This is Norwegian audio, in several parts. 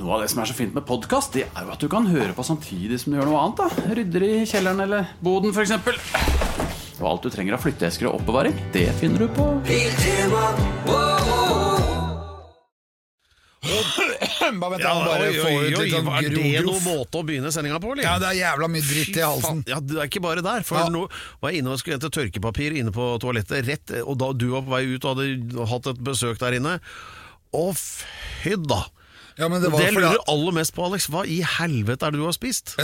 Noe av det som er så fint med podkast, det er jo at du kan høre på samtidig som du gjør noe annet. da Rydder i kjelleren eller boden, f.eks. Og alt du trenger av flytteesker og oppbevaring, det finner du på Bare vent, Ja, han bare oi, oi, får ut oi, litt sånn Er gro- det noen groff. måte å begynne sendinga på, eller? Ja, det er jævla mye dritt i Fy halsen. faen. Ja, det er ikke bare der. For Ja. nå var jeg inne og skulle hente tørkepapir inne på toalettet, rett, og da du var på vei ut og hadde hatt et besøk der inne. Å, fy da! Ja, men Det, det var jeg fordi lurer aller mest på, Alex, hva i helvete er det du har spist?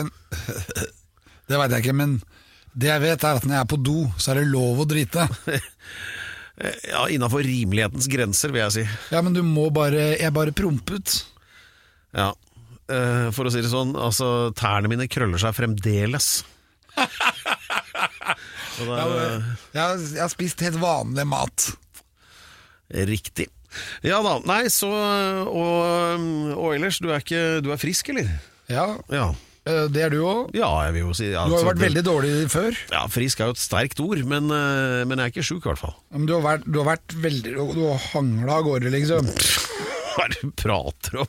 Det veit jeg ikke, men det jeg vet, er at når jeg er på do, så er det lov å drite. Ja, Innafor rimelighetens grenser, vil jeg si. Ja, men du må bare Jeg bare prompet. Ja. Eh, for å si det sånn, altså, tærne mine krøller seg fremdeles. Jeg, Og det er, eh, jeg, har- jeg har spist helt vanlig mat. Riktig. Ja da. Nei, så Og, og ellers, du er, ikke, du er frisk, eller? Ja, Ja. øh, det er du òg. ja, jeg vil jo si ja, Du har jo så- vært veldig dårlig før. Ja, Frisk er jo et sterkt ord, men, eh, men jeg er ikke sjuk, i hvert fall. Ja, Men du har vært, du har vært veldig Du har hangla av gårde, liksom. Hva er det du prater om?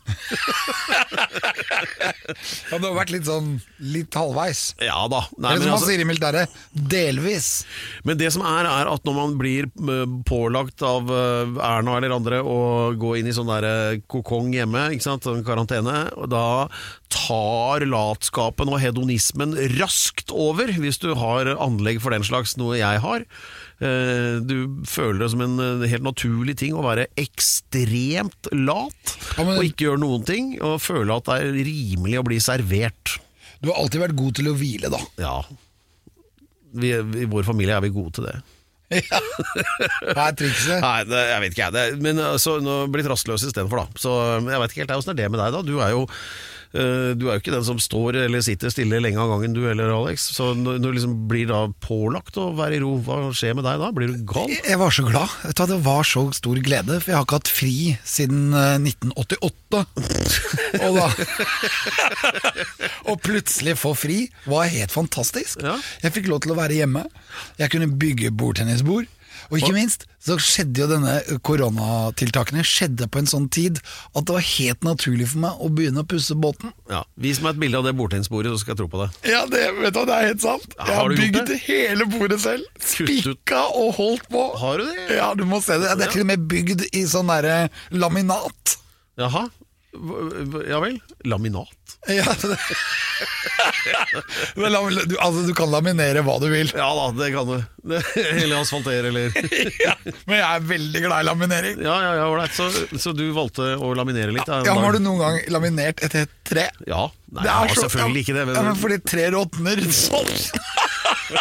Ja, du har vært litt sånn litt halvveis. Ja da. Nei, Eller men, som han altså, sier i militæret, delvis. men det som er, er at når man blir eh, pålagt av eh, Erna eller andre å gå inn i sånn der eh, kokong hjemme, ikke sant, sånn karantene, og da tar latskapen og hedonismen raskt over, hvis du har anlegg for den slags, noe jeg har. Eh, Du føler det som en eh, helt naturlig ting å være ekstremt lat, Ja, men- og ikke gjøre noen ting, og føle at det er rimelig å bli servert. Du har alltid vært god til å hvile, da. Ja. Vi, I vår familie er vi gode til det. Det er trikset. Nei, det, jeg vet ikke jeg. Det, men uh, så nå har jeg blitt rastløs istedenfor, da. Så um, jeg vet ikke helt åssen er det med deg, da. Du er jo uh, du er jo ikke den som står eller sitter stille lenge av gangen, du heller, Alex. Så når når du liksom blir da pålagt å være i ro, hva skjer med deg da? Blir du gal? Jeg var så glad. Vet du hva, Det var så stor glede, for jeg har ikke hatt fri siden eh, 1988. Og da Og plutselig få fri var helt fantastisk. Ja. Jeg fikk lov til å være hjemme. Jeg kunne bygge bordtennisbord. Og ikke minst så skjedde jo denne eh, koronatiltakene skjedde på en sånn tid at det var helt naturlig for meg å begynne å pusse båten. Ja. Vis meg et bilde av det bordtennisbordet, så skal jeg tro på det. Ja, det, vet du, hva, det er helt sant. Ja, Jeg har har du gjort bygd det? hele bordet selv. Kutt ut. Spikka og holdt på. Har du det? Ja, du må se det. Det er til og med bygd i sånn derre laminat. Jaha? Hva- hva- Ja vel? Laminat? Ja, det. Men lam- du, altså, du kan laminere hva du vil, Ja da, det kan du. Det- Eller asfaltere, eller men jeg er veldig glad i laminering. Ja, ja, ja, ålreit. Så, så du valgte å laminere litt? Ja, Har du noen gang laminert et helt tre? Ja. Nei, Det jeg er har så- selvfølgelig ikke det. Men, Ja, men fordi tre råtner sånn.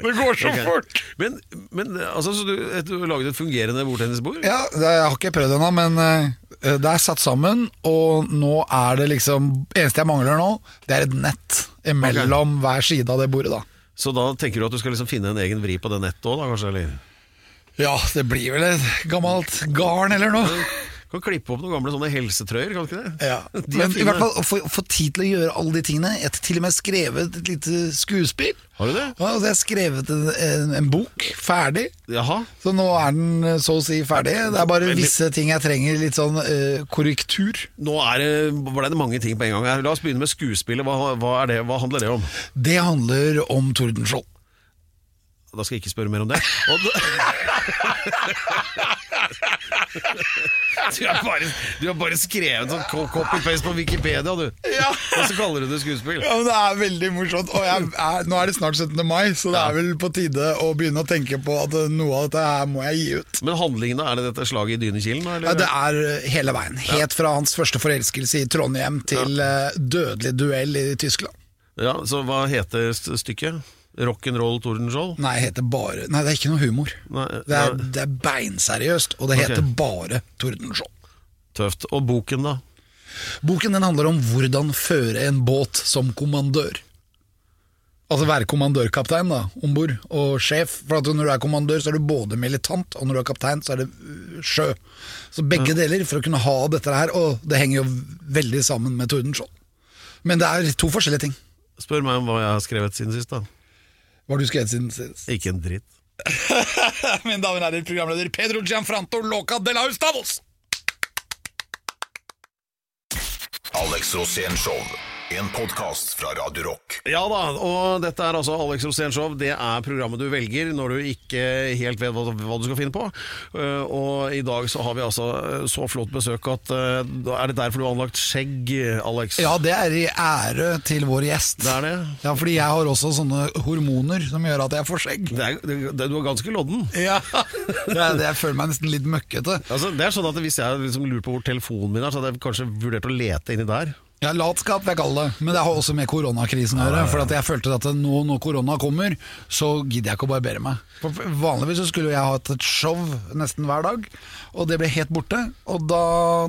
Det går så Ok. fort. men, men altså, så du, et- du laget et fungerende bordtennisbord? Ja, det, jeg har ikke prøvd ennå, men eh, det er satt sammen, og nå er det liksom Eneste jeg mangler nå, det er et nett mellom hver side av det bordet, da. Så da tenker du at du skal liksom finne en egen vri på det nettet òg, da kanskje? Eller? Ja, det blir vel et gammelt garn eller noe. Du kan klippe opp noen gamle sånne helsetrøyer, kan du ikke det? Ja, De er Men i fine. hvert fall å få- få tid til å gjøre alle de tingene. Jeg har til og med skrevet et lite skuespill. Har du det? Ja, altså, jeg har skrevet en, en, en bok ferdig. Jaha. Så nå er den eh, så å si ferdig. Det er bare visse ting jeg trenger litt sånn eh, korrektur. Nå er det, ble det mange ting på en gang her. La oss begynne med skuespillet. Hva, hva, er det, hva handler det om? Det handler om Tordenskjold. Da skal jeg ikke spørre mer om det. Og da- du, har bare, du har bare skrevet sånn co- copy-paste på Wikipedia, du. Ja. Og så kaller du det skuespill. Ja, men Det er veldig morsomt. Og jeg er, nå er det snart 17. mai, så det er vel på tide å begynne å tenke på at eh, noe av dette her må jeg gi ut. Men handlingen, da? Er det dette slaget i Dynekilen? da, eller? Ja, det er eh, hele veien. Helt fra hans første forelskelse i Trondheim til eh, dødelig duell i Tyskland. Ja, så hva heter st- stykket? Rock'n'roll Tordenskjold? Nei, det heter bare Nei, det er ikke noe humor. Nei, Det er, nei. det er beinseriøst, og det heter bare Tordenskjold. Tøft. Og boken, da? Boken den handler om hvordan føre en båt som kommandør. Altså være kommandørkaptein da, om bord, og sjef. For at når du er kommandør, så er du både militant, og når du er kaptein, så er det øh, sjø. Så begge deler for å kunne ha dette her, og det henger jo veldig sammen med Tordenskjold. Men det er to forskjellige ting. Spør meg om hva jeg har skrevet siden sist, da. Hva har du skrevet siden sist? Ikke en dritt. Min damer og herrer, programleder Pedro Gianfranto Loca de la Hustavos! Alex Rosén Show. En podkast fra Radio Rock. Ja da, og dette er altså Alex Rosén Show. Det er programmet du velger når du ikke helt vet hva, hva du skal finne på. Eh, og i dag så har vi altså eh, så flott besøk at eh, da Er det derfor du har anlagt skjegg, Alex? Ja, det er i ære til vår gjest. Det er det. Ja, fordi jeg har også sånne hormoner som gjør at jeg får skjegg. Det er, det, du er ganske lodden. Ja, det er det jeg føler meg nesten litt møkkete. Altså, det er sånn at Hvis jeg liksom lurer på hvor telefonen min er, så hadde jeg kanskje vurdert å lete inni der. Ja, Latskap vil jeg kalle det, men det har også med koronakrisen å gjøre. For at jeg følte at nå når korona kommer, så gidder jeg ikke å barbere meg. For vanligvis så skulle jeg hatt et show nesten hver dag, og det ble helt borte. Og da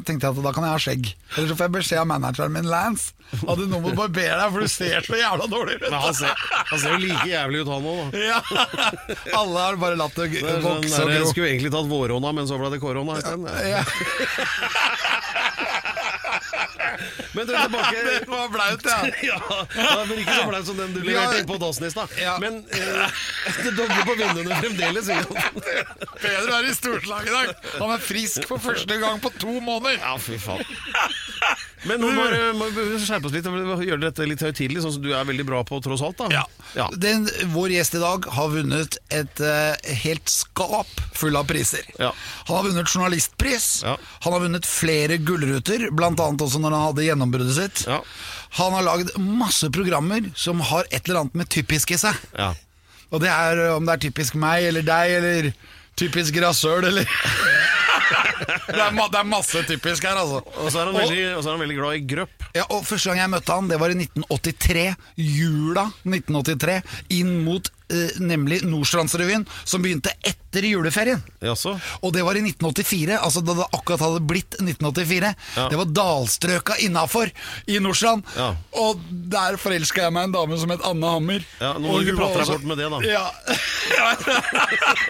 tenkte jeg at da kan jeg ha skjegg. Eller så får jeg beskjed av manageren min, Lance, at nå må du barbere deg, for du ser så jævla dårlig ut. Men han ser, han ser jo like jævlig ut, han òg. Ja. Alle har bare latt det g- Sånn vokse og der, gro. skulle egentlig tatt våronna, men så ble det korona. isteden. Ja. Men du, tilbake Det var blaut, ja. Ja, det var ikke så flaut som den du leverte Ja. på dassen i stad. Ja. Men eh, det dobler på vinduene fremdeles. Ikke? sant? Peder er i storslag i dag. Han er frisk for første gang på to måneder. Ja, fy faen. Men nå må du- må du skjerpe oss litt og gjøre dette litt høytidelig, sånn som du er veldig bra på tross alt. da Ja. Den, vår gjest i dag har vunnet et eh, helt skap full av priser. Ja. Han har vunnet journalistpris, Ja. han har vunnet flere gullruter, blant annet også når han hadde gjennombruddet sitt. Ja. Han har lagd masse programmer som har et eller annet med typisk i seg. Ja. Og det er eh, om det er typisk meg eller deg eller typisk rasøl eller det, er, ma- det er masse typisk her, altså. Og så er han veldig, og så er han veldig glad i grøpp. Ja, og Første gang jeg møtte han, det var i 1983. Jula 1983. Inn mot eh, nemlig Nordstrandsrevyen, som begynte etter juleferien. Jaså? Og det var i 1984, altså da det akkurat hadde blitt 1984. Ja. Det var dalstrøka innafor i Nordstrand. Ja. Og der forelska jeg meg i en dame som het Anne Hammer. Ja, nå må Og du ikke hun prate var deg bort med det, da. Ja.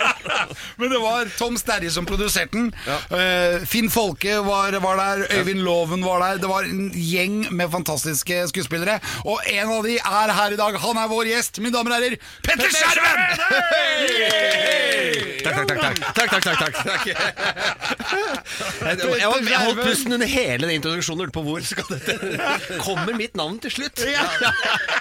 Men det var Tom Sterje som produserte den. Ja. Eh, Finn Folke var, var der, Øyvind Loven var der. Det var en gjeng med fantastiske skuespillere. Og en av de er her i dag. Han er vår gjest, mine damer og herrer, Petter Skjerven! Takk, takk, takk. takk. takk, takk, takk, takk, Jeg, jeg, var- jeg holdt pusten under hele den introduksjonen og lurte på hvor skal dette Kommer mitt navn til slutt? Ja,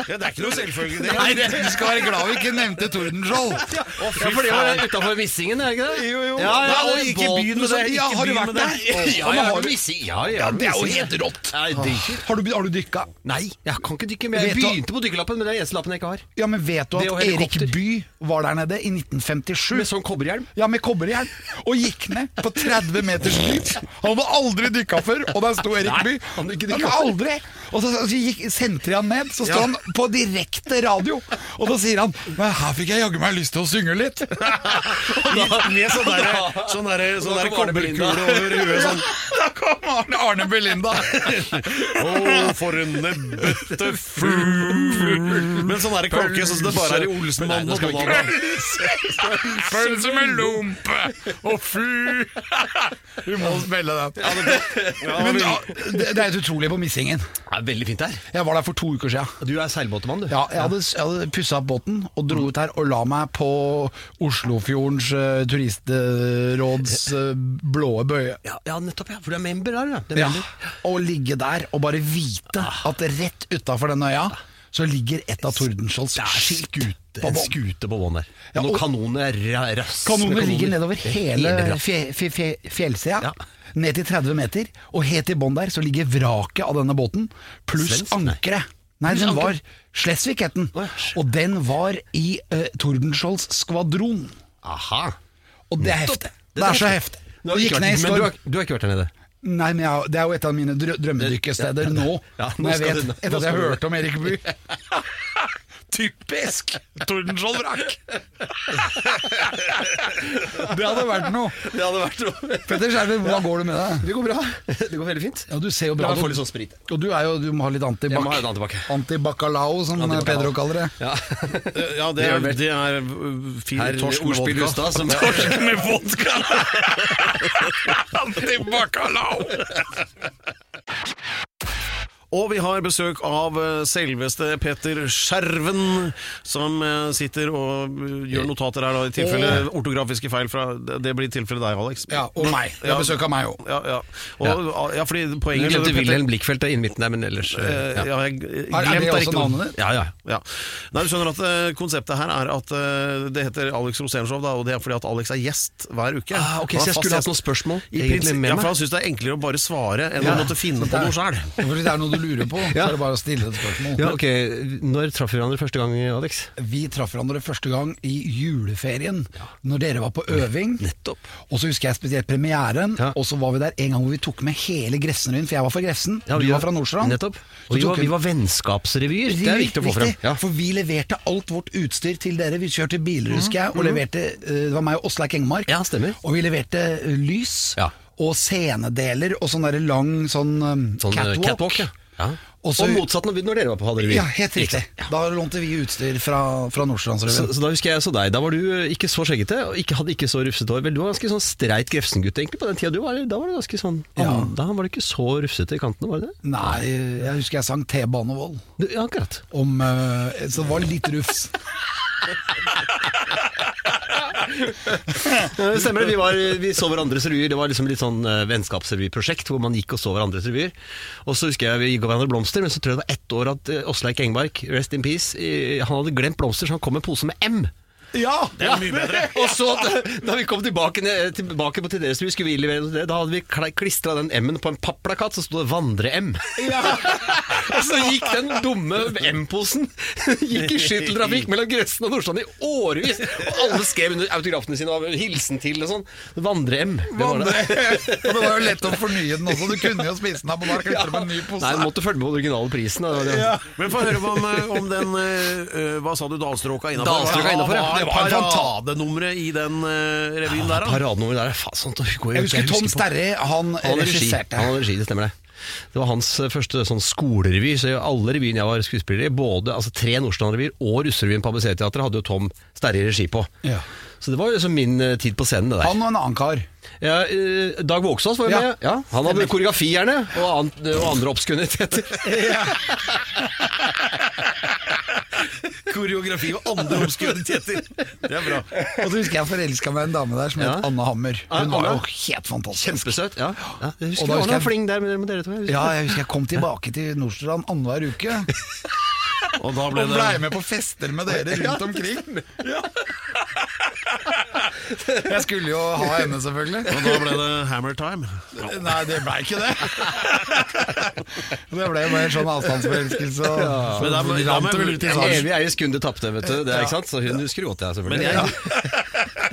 det er ikke noe selvfølgelig, det. Nei, du skal være glad vi ikke nevnte Tordenskjold. Ja, for det var utafor Missingen, er det ikke det? Jo, jo. Ja, ja, Nei, og det ikke i båten byen med som- det, Ja, ikke har du byen vært med der? det. Ja, Ja, men jeg har har du- Missing. Ja, ja, Ja, det er jo Missingen. helt rått. Nei, dykker. Har du, har du dykka? Nei, jeg kan ikke dykke. Men Vet jeg du- begynte på dykkerlappen, men det er eneste lappen jeg ikke har. Ja, men vet du Det og at Erik helikopter. Bye var der nede i 1957? Med sånn kobberhjelm. Ja, med kobberjern. Og gikk ned på 30 meters dyp. Han hadde aldri dykka før, og der sto Erik Bye. han hadde ikke Han dykket hadde aldri. Og så, så gikk, sendte de han ned, så sto Ja. han på direkte radio, og da sier han Men her fikk jeg jaggu meg lyst til å synge litt. Med sånn der, sånn der, sånn Da der kom Arne kobberkule Blinda. over huet sånn. Da kom Arne, Arne Belinda. Å, for en nebbete fugl Men sånn er det klokke, sånn som det bare er i Nei, Olsenmannen nå og skal vi Donald. Pølse med lompe og fy! Vi må spille den. Men, ja, det, det er helt utrolig på Missingen. Det er veldig fint der. Jeg var der for to uker siden. Du er seilbåtmann, du. Ja, jeg hadde, jeg hadde pussa opp båten og dro ut her og la meg på Oslofjordens eh, turistråds eh, blå bøye. Ja, ja, nettopp, ja. For du er member der, ja. Det er Ja, member. Å ligge der og bare vite at rett utafor den øya så ligger et av Tordenskiolds Det er skute, på en bånn. skute på bånn der. Ja, Noen og- kanoner ra- rass. Kanoner med ligger nedover Det er hele rass. fje, fje, fje, fjellsida. Ja. Ned til 30 meter, og helt i bånn der så ligger vraket av denne båten, pluss Svensk, nei. ankeret. Nei, den var Slesvig het den. Å, ja. Og den var i eh, Tordenskiolds skvadron. Aha. Og det er heftig. Det er så heftig. Du har Det ikke gikk ned i vært- Men du storm. har, du har ikke vært der nede? Nei, men jeg, det er jo et av mine drø drømmedykkesteder Ja, ja, ja. nå. Ja, nå når jeg skal vet, du- nå etter at skal jeg du- hørte om Erik Bye. Typisk Tordenskjold-vrakk! det hadde vært noe. Det hadde vært noe. Petter Skjerven, hvordan går det med deg? Det går bra. Det går veldig fint. Ja, du ser jo bra La meg få litt sånn sprit. Og du, er jo, du må ha litt antibac. Jeg må ha litt antibac. Antibacalao, som Antibacalao. Pedro kaller det. Ja. Ja, det er, det er uh, fin Eh, Herr torsk med Ordspill vodka. Hustad som Med vodka! Antibacalao! Og vi har besøk av eh, selveste Peter Skjerven, som eh, sitter og eh, gjør notater her, da, i tilfelle ortografiske feil fra Det blir i tilfelle deg, Alex. Ja, og meg. Jeg har besøk av meg òg. Ja, ja. Og, ja. fordi Jeg poenget glemte Wilhelm Blikkfeldt er innen midten der, men ellers eh, Eh, ja. ja, jeg Er- er det glemte også riktig navnet ord. ditt? ja, ja. Ja. Nei, du skjønner at eh, Konseptet her er at eh, det heter Alex Rosénshow, da, og det er fordi at Alex er gjest hver uke. Ah, ok, Han er så jeg fast skulle hatt gjest. noen spørsmål I egentlig prinsipp- med ja, meg. for Han syns det er enklere å bare svare enn å måtte finne på noe sjæl. Hvis det er noe du lurer på, så er det bare å stille et spørsmål. ja, ok. Når traff vi hverandre første gang, Alex? Vi traff hverandre første gang i juleferien, når dere var på øving. Nettopp. Og så husker jeg spesielt premieren, Ja. og så var vi der en gang hvor vi tok med hele Grefsenrevyen, for jeg var fra Grefsen, Ja, du vi var fra Nordstrand. Nettopp. Så Og vi tok var, vi var vennskapsrevyer. Det er viktig å få frem. Riktig, For vi leverte alt vårt utstyr til dere. Vi kjørte biler, husker jeg, og leverte eh, Det var meg og Åsleik Engmark. Mhm, Ja, stemmer. Og vi leverte eh, lys Ja. og scenedeler og sånn derre lang sånn, eh, Sånn eh, catwalk. catwalk. ja. ja. Og så- og motsatt når, vi- når dere var på hadde revy. Ja, helt riktig. Da lånte vi utstyr fra, fra Så, Nordstrandsrevyen. så da husker jeg så deg. Da var du eh, ikke så skjeggete og ikke, hadde ikke så rufsete hår. Vel, du var ganske sånn streit Grefsen-gutt egentlig på den tida. Du var, da var du ganske sånn Da var du ikke så rufsete i kantene, var du det? Nei, jeg husker jeg sang T-banevold Du, ja, akkurat. om eh, Så det var litt rufs. Eh, Stemmer det. Vi, var, vi så hverandres revyer. Det var liksom litt sånn eh, vennskapsrevyprosjekt hvor man gikk og så hverandres revyer. Og så husker jeg vi gikk hverandre blomster, men så tror jeg det var ett år at eh, Åsleik Engmark, rest in peace, eh, han hadde glemt blomster, så han kom med en pose med M. Ja! Det er mye bedre. Og så, da vi kom tilbake, ned- tilbake på til deres hus, skulle vi levere noe til det, da hadde vi klistra den M-en på en papplakat, så sto det 'Vandre-M'. og så gikk den dumme M-posen Gikk i skytteltrafikk mellom Grøssen og Nordstrand i årevis. Og alle skrev under autografene sine og hilsen til og sånn. 'Vandre-M'. Det var Og det. det var jo lett å fornye den også. Du kunne jo spise den av, men da klippet du med en ny Nei, pose. du måtte følge med på originale prisen. Da. Det var det. Men få høre om, eh, om den eh, Hva sa du, Dalstråka innafor? Dalstråka innenfor, ja. Hva Det var var en paradenummeret i den eh, revyen der, da? Paradenummer der er faen sånn, sånt. det går jo Jeg ikke. husker Tom på- Sterri, han Han hadde regi. regisserte. Han hadde regi, det stemmer det. Det var hans eh, første sånn skolerevy. Så i alle revyene jeg var skuespiller i, både altså tre Nordstrand-revyer og Russerevyen på ABC-teatret, hadde jo Tom Sterri regi på. Ja. Så det var jo liksom min eh, tid på scenen, det der. Han og en annen kar. ja, eh, Dag Vågsås var jo Ja. med. Ja, han hadde koreografi, gjerne, og, an og andre obskurniteter. Koreografi og andre obskurniteter. Det er bra. Og så husker jeg forelska meg i en dame der som het Ja. Anne Hammer. Hun Ja, var jo Anne. helt fantastisk. Kjempesøt. Ja. ja. Og Jeg husker da du var husker noe jeg- fling der med dere- med dere to. jeg husker. Ja, jeg husker jeg kom tilbake til Nordstrand annenhver uke Og da ble og det blei med på fester med dere rundt omkring. Jeg skulle jo ha henne, selvfølgelig. og da ble det Hammer Time. Nei, det blei ikke det. Det ble bare en sånn avstandsforelskelse. og- Men da må- da må jeg vel ut i En salen. evig eies kunde tapte, vet du. Det er, ikke sant? Så hun husker godt, jeg, Men selvfølgelig. jeg,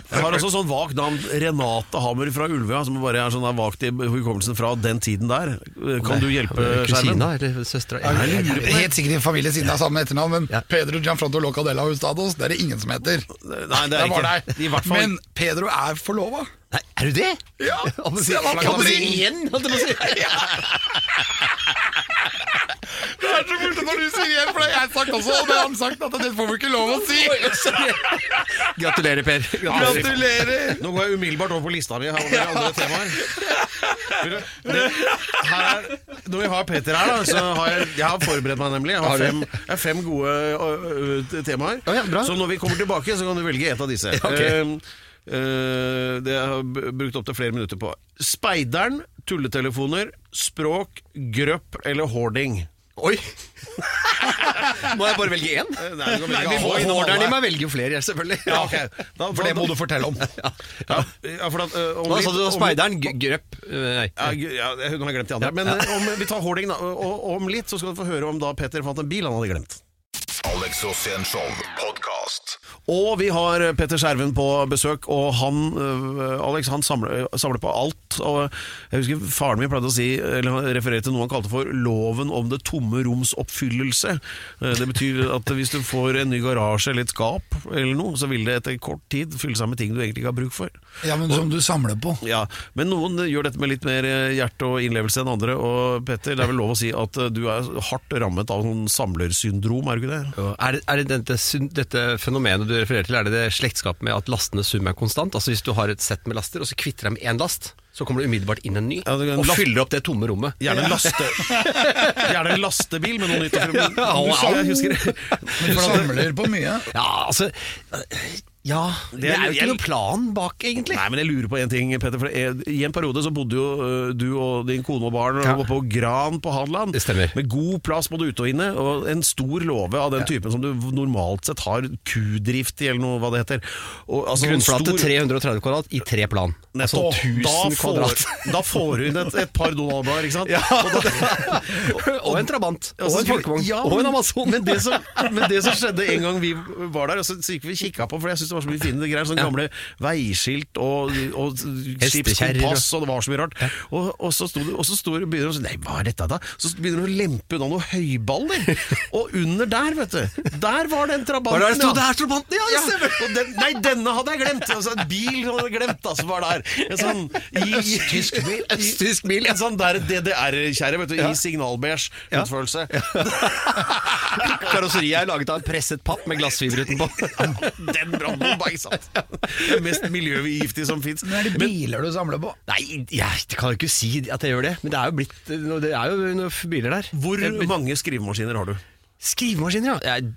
jeg har også sånn vagt navn, Renate Hammer fra Ulvøya, som bare er sånn der vagt i hukommelsen fra den tiden der. Kan du hjelpe skjermen? Kusina eller søstera? Ja, Jeg lurer på det. Helt sikkert i familie siden det er samme etternavn, men Ja. Pedro Gianfranto Locadella Hustados, det er det ingen som heter. Nei, det er var ikke deg. I hvert fall Men Pedro er forlova. Nei, er du det? Ja, Holdt se, han på å si kommer inn. igjen, holdt jeg på å si. Det er så morsomt når du sier det, for det har jeg sagt også, og det har han sagt at det får vi ikke lov å si. Gratulerer, Per. Gratulerer! Nå går jeg umiddelbart over på lista mi. Her var det andre temaer. Vil du- det- Her, når vi har Peter her, da, så har jeg, jeg har forberedt meg nemlig. Jeg har Har du? fem, jeg har fem gode ø, ø, t- temaer. Å ja, bra. så når vi kommer tilbake, så kan du velge et av disse. ok. Ehm, eh, det har jeg b- brukt opptil flere minutter på. Speideren, tulletelefoner, språk, grøpp eller hoarding. Oi! Må jeg bare velge én? Eh, Nei, du kan velge Nei, vi alle. får Orderen i meg velger jo flere, jeg, selvfølgelig. Ja, ok. Da- For det må du fortelle om. Ja, ja, for at, ø, om Hva litt- sa du? om litt- Speideren? g- Grøpp? eh, Ja, Nei. gu- ja, jeg- nå har jeg glemt de andre. Men eh, Om, vi tar hoarding, da. Og, og om litt så skal du få høre om da Peter fant en bil han hadde glemt. Alex Rosénshow podcast. Og vi har eh, Petter Skjerven på besøk, og han eh, Alex, han samler, eh, samler på alt. Og jeg husker faren min pleide å si, eller han refererte til noe han kalte for 'loven om det tomme roms oppfyllelse'. Eh, Det betyr at hvis du får en ny garasje eller et skap eller noe, så vil det etter kort tid fylle seg med ting du egentlig ikke har bruk for. Ja, men som du samler på. Ja, Men noen gjør dette med litt mer eh, hjerte og innlevelse enn andre. Og Petter, det er vel lov å si at eh, du er hardt rammet av sånn samlersyndrom, er du ikke det? Jo, Er det, er det dette, syn- dette fenomenet du refererer til, er det det slektskapet med at lastenes sum er konstant? Altså Hvis du har et sett med laster, og så kvitter deg med én last, så kommer det umiddelbart inn en ny Ja, det er en og lapp- fyller opp det tomme rommet. Gjerne en, laste, gjerne en lastebil med noe nytt og fremmelig. Ja, au, au. Jeg husker Men du samler på mye. Ja, altså Ja. Det, er jo ikke noen plan bak, egentlig. Nei, men jeg lurer på en ting, Petter. For jeg, I en periode så bodde jo øh, du og din kone og barn Ja. oppe på Gran på Hadeland. Det stemmer. Med god plass både ute og inne, og en stor låve av den typen som du normalt sett har kudrift i, eller noe hva det heter. Og, altså, sånn stor- Grunnflate 330 kvadrat i tre plan. Nettopp. Altså 1000 da, får, kvadrat. da får hun et, et par Donald-blader, ikke sant? Og da- og en trabant. Og Altså, en folkevogn. ja, og en men- Amazon. Men det, som, men det som skjedde en gang vi var der, og så gikk vi kikka på, for jeg syntes det var så mye fine greier. Sånne gamle veiskilt og, og Hestekjerrer og- skipskompass, og det var så mye rart. Og, og så sto det, og så står det begynner hun å si Nei, hva er dette da? Så begynner hun å lempe unna noen høyballer. Og under der, vet du, der var den trabanten. Var det der det sto? ja. Der er trabanten, ja, det stemmer. Og den, nei, denne hadde jeg glemt! Altså, en bil hadde jeg glemt, altså, var der. En sånn østtysk bil. Østtysk bil, ja. En sånn der DDR-kjerre, vet du, i signalbeige utførelse. Karosseriet er laget av presset papp med glassfiber utenpå. Den brannbomba, ikke sant? Det mest miljøgiftige som fins. Men er det biler du samler på? Nei, jeg kan jo ikke si at jeg gjør det, men det er jo blitt Det er jo noen biler der. Hvor Det er- mange skrivemaskiner har du? Skrivemaskiner, ja. Jeg-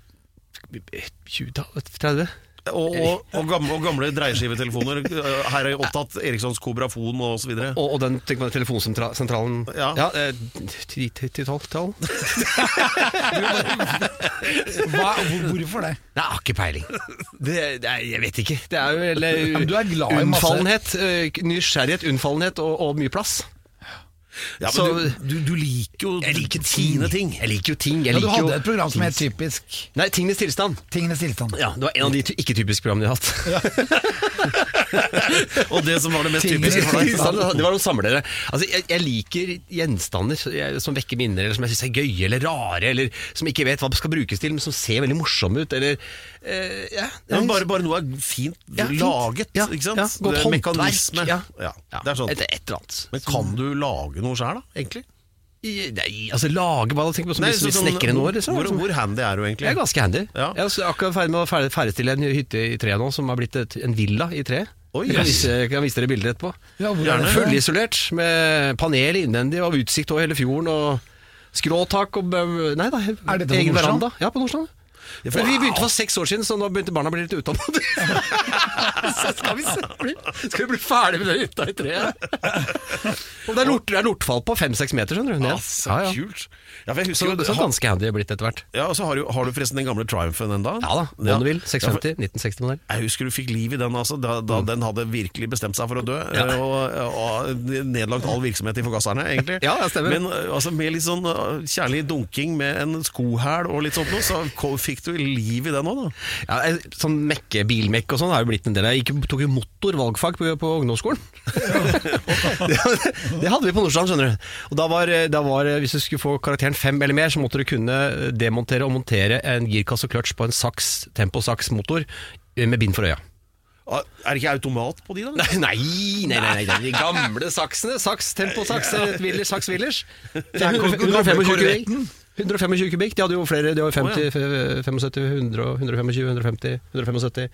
20-30? Og, og, og, gamle, og gamle dreieskivetelefoner. eh, Her er opptatt Erikssons Kobrafon og så videre. Og, og den tenk på den telefonsentralen Ja. eh, ti- ti- til tolv tall? Nei, Hva, hvor, hvorfor det? jeg har ikke peiling. Det, det er, jeg vet ikke. Det er jo Ja, men du er glad i masse- unnfallenhet. eh, Nysgjerrighet, unnfallenhet og, og mye plass. Ja, men så- du, du, du liker jo Jeg liker ting. ting. Jeg liker jo ting. Jeg Ja, du liker hadde jo- et program som het Typisk Nei, Tingenes tilstand. tingenes tilstand. Ja, Det var en av de ty- ikke-typiske programmene jeg har hatt. Og det som var det mest Tingenes typiske for deg. Tilstand, Det var noen samlere. Altså, jeg, jeg liker gjenstander som jeg- som vekker minner, eller som jeg syns er gøye eller rare, eller som jeg ikke vet hva det skal brukes til, men som ser veldig morsomme ut, eller eh, ja, Ja, men bare, bare noe er fint Ja, fint. laget, Ja, ikke sant? ja, godt Det er håndverk, Mekanisme. ja. Ja, ja, det er sånn. Et, et eller annet. Men kan du lage noe sjøl, da? Egentlig? I- Nei, altså lage hva da? Tenk på som, som sånn- snekker en år, liksom. Hvor, hvor handy er du jeg egentlig? er ganske handy. Ja. Jeg er også akkurat ferdig med å ferdig- ferdigstille en hytte i tre nå, som har blitt et, en villa i tre. Oi, jeg, kan yes. vise, jeg kan vise dere bilder etterpå. Ja, hvor Gjerne. er det fra? Fullisolert, med panel innvendig og utsikt over hele fjorden. Og skråtak og bø- Nei da, Er dette på egen Nordstrand? veranda. Ja, på Nordstrand. Men vi begynte for seks år siden, så nå begynte barna å bli litt utålmodige. Så skal, vi se- bli- skal vi bli ferdig med den hytta i treet? Og det er, lort, det er lortfall på fem-seks meter, skjønner du. Ja, ned. Ah, så kult. Ja, for jeg Så, husker så jo ha, ganske handy er blitt etter hvert. ja, og så har, du, har du forresten den gamle Triumphen enda? Ja da. Bonneville 650, 1960-modell. Jeg husker du fikk liv i den, altså, da, da den hadde virkelig bestemt seg for å dø. eh, Og, og nedlagt all virksomhet i forgasserne, egentlig. Ja, det stemmer. Men altså, med litt sånn uh, kjærlig dunking med en skohæl og litt sånt noe, så ko- fikk du liv i den òg, da. Ja, jeg- sånn mekke, bilmekk og sånn har jo blitt en del. Jeg gikk, tok jo motorvalgfag på, på ungdomsskolen. det, det hadde vi på Nordstrand, skjønner du. Og da var, eh, da var Hvis du skulle få karakteren fem eller mer, så måtte du kunne eh, demontere og montere en girkasse og kløtsj på en saks, tempo-saks-motor med bind for øya. Ah, Er det ikke automat på de, da? Nei, nei, nei, nei, nei, de gamle saksene. Saks, tempo-saks, eh, Willers, saks, Willers. Korvetten. 125 kubikk, de hadde jo flere. De var 50, 75, 100, 125, 150, 175.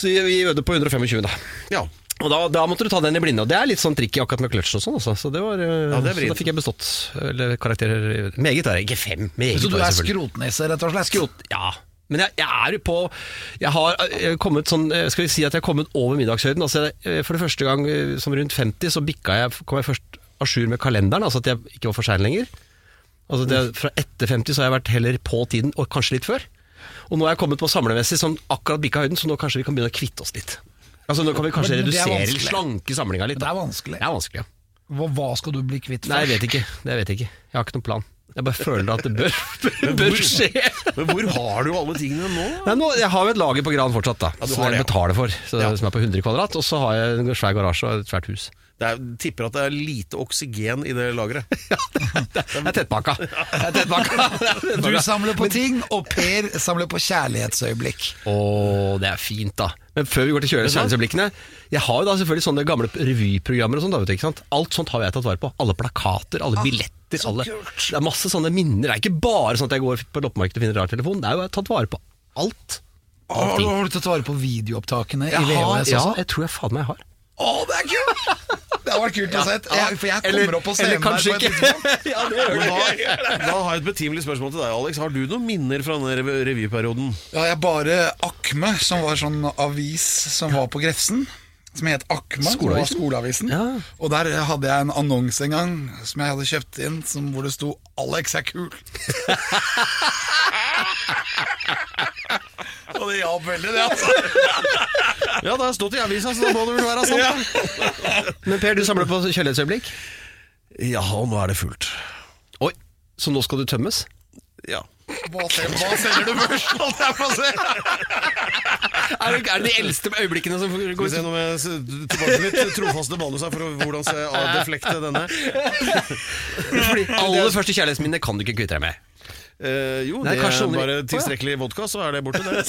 Så vi, vi øvde på 125, da. Ja. Og da, da måtte du ta den i blinde. Og det er litt sånn tricky akkurat med kløtsjen og sånn, altså. Så, det var, eh, Ja, det er så da vrient. fikk jeg bestått. Eller karakterer Meget var jeg. Ikke fem. Meget Så du var er jeg selvfølgelig. skrotnisse, rett og slett? Skrot, ja. Men jeg, jeg er jo på Jeg har eh, kommet sånn eh, Skal vi si at jeg har kommet over middagshøyden. Altså, eh, for det første gang eh, som rundt 50, så bikka jeg, kom jeg først à jour med kalenderen. Altså at jeg ikke var for sein lenger. Altså det, Fra etter 50 så har jeg vært heller på tiden, og kanskje litt før. Og nå er jeg kommet på samlemessig som akkurat bikka høyden, så nå kanskje vi kan begynne å kvitte oss litt. Altså Nå kan vi kanskje Men det er redusere eller vanskelig. slanke samlinga litt. Det er da. vanskelig. Det er vanskelig, ja. Hva, hva skal du bli kvitt Nei, jeg først? vet ikke. Det vet jeg ikke. Jeg har ikke noen plan. Jeg bare føler at det bør, bør, hvor- bør skje. Men hvor har du alle tingene nå? da? Nei, nå, jeg har jo et lager på Gran fortsatt, da. du som har jeg det, ja. betaler for. Så, Ja. Som er på 100 kvadrat. Og så har jeg en svær garasje og et svært hus. Det er, tipper at det er lite oksygen i det lageret. Jeg er tettpakka. Jeg er tettpakka. Du samler på ting, og Per samler på kjærlighetsøyeblikk. Å, det er fint, da. Men før vi går til kjøre- kjærlighetsøyeblikkene Jeg har jo da selvfølgelig sånne gamle revyprogrammer og sånn. da, vet du, ikke sant? Alt sånt har jeg tatt vare på. Alle plakater, Ah, alle billetter. Alle. Det er masse sånne minner. Det er ikke bare sånn at jeg går på loppemarkedet og finner rar telefon. Det er jo jeg har tatt vare på alt. Har, har du tatt vare på videoopptakene i Jeg har, VHS ja, også? jeg tror jeg faen meg har. Å, det er kult! Det hadde vært kult å se. Jeg- For jeg kommer Eller- opp på eller scenen der kanskje på et ikke. tidspunkt. ja, det gjør Men det. Da, da har jeg et betimelig spørsmål til deg, Alex. Har du noen minner fra denne rev- revyperioden? Ja, jeg bare Akme, som var sånn avis som var på Grefsen. Som het Akme, som var Skoleavisen? skoleavisen. Ja. Og der hadde jeg en annonse en gang som jeg hadde kjøpt inn, som, hvor det sto 'Alex er kul'. Og det hjalp veldig, det, altså. Ja, det har stått i avisa, så da må det vel være sånn. sant. da. Men Per, du samler på kjærlighetsøyeblikk. Ja, og nå er det fullt. Oi, så nå skal du tømmes? Ja. Hva selger, hva selger du først? holdt jeg på å Altså. si? Er det, er det de eldste øyeblikkene som går Skal vi se om jeg s- tilbake til mitt trofaste manus her for å, hvordan skal jeg avdeflekte denne. Fordi aller første kjærlighetsminne kan du ikke kvitte deg med. Eh, jo, Nei, det kanskje er noen- bare Å, ja. tilstrekkelig vodka, så er det borte, det.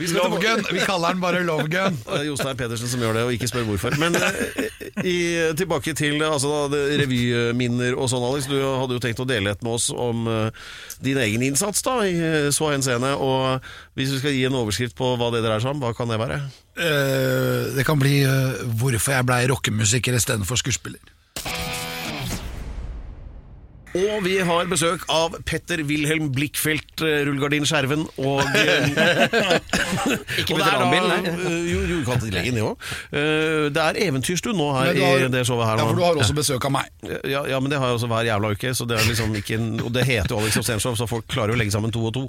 Vi skal tilbake- Lovegun. Vi kaller den bare Lovegun. Det er Eh, Jostein Pedersen som gjør det, og ikke spør hvorfor. Men eh, i, tilbake til eh, altså, da, det- revyminner og sånn, Alex. Du hadde jo tenkt å dele et med oss om eh, din egen innsats da, i eh, så henseende. Og hvis du skal gi en overskrift på hva det dreier seg om, hva kan det være? Eh, det kan bli eh, 'Hvorfor jeg blei rockemusiker istedenfor skuespiller'. Og vi har besøk av Petter Wilhelm Blikkfeldt, eh, Rullegardin Skjerven og eh, Ikke og det er da- veteranbil, nei. eh, Jo, jo, du kan til legen, det òg. Det er eventyrstund nå her Men du har- i det showet her. Ja, nå. for du har også besøk av meg. Ja, ja, men det har jeg også hver jævla uke, så det er liksom ikke en, og det heter jo Alex Obstenshow, så folk klarer jo å legge sammen to og to,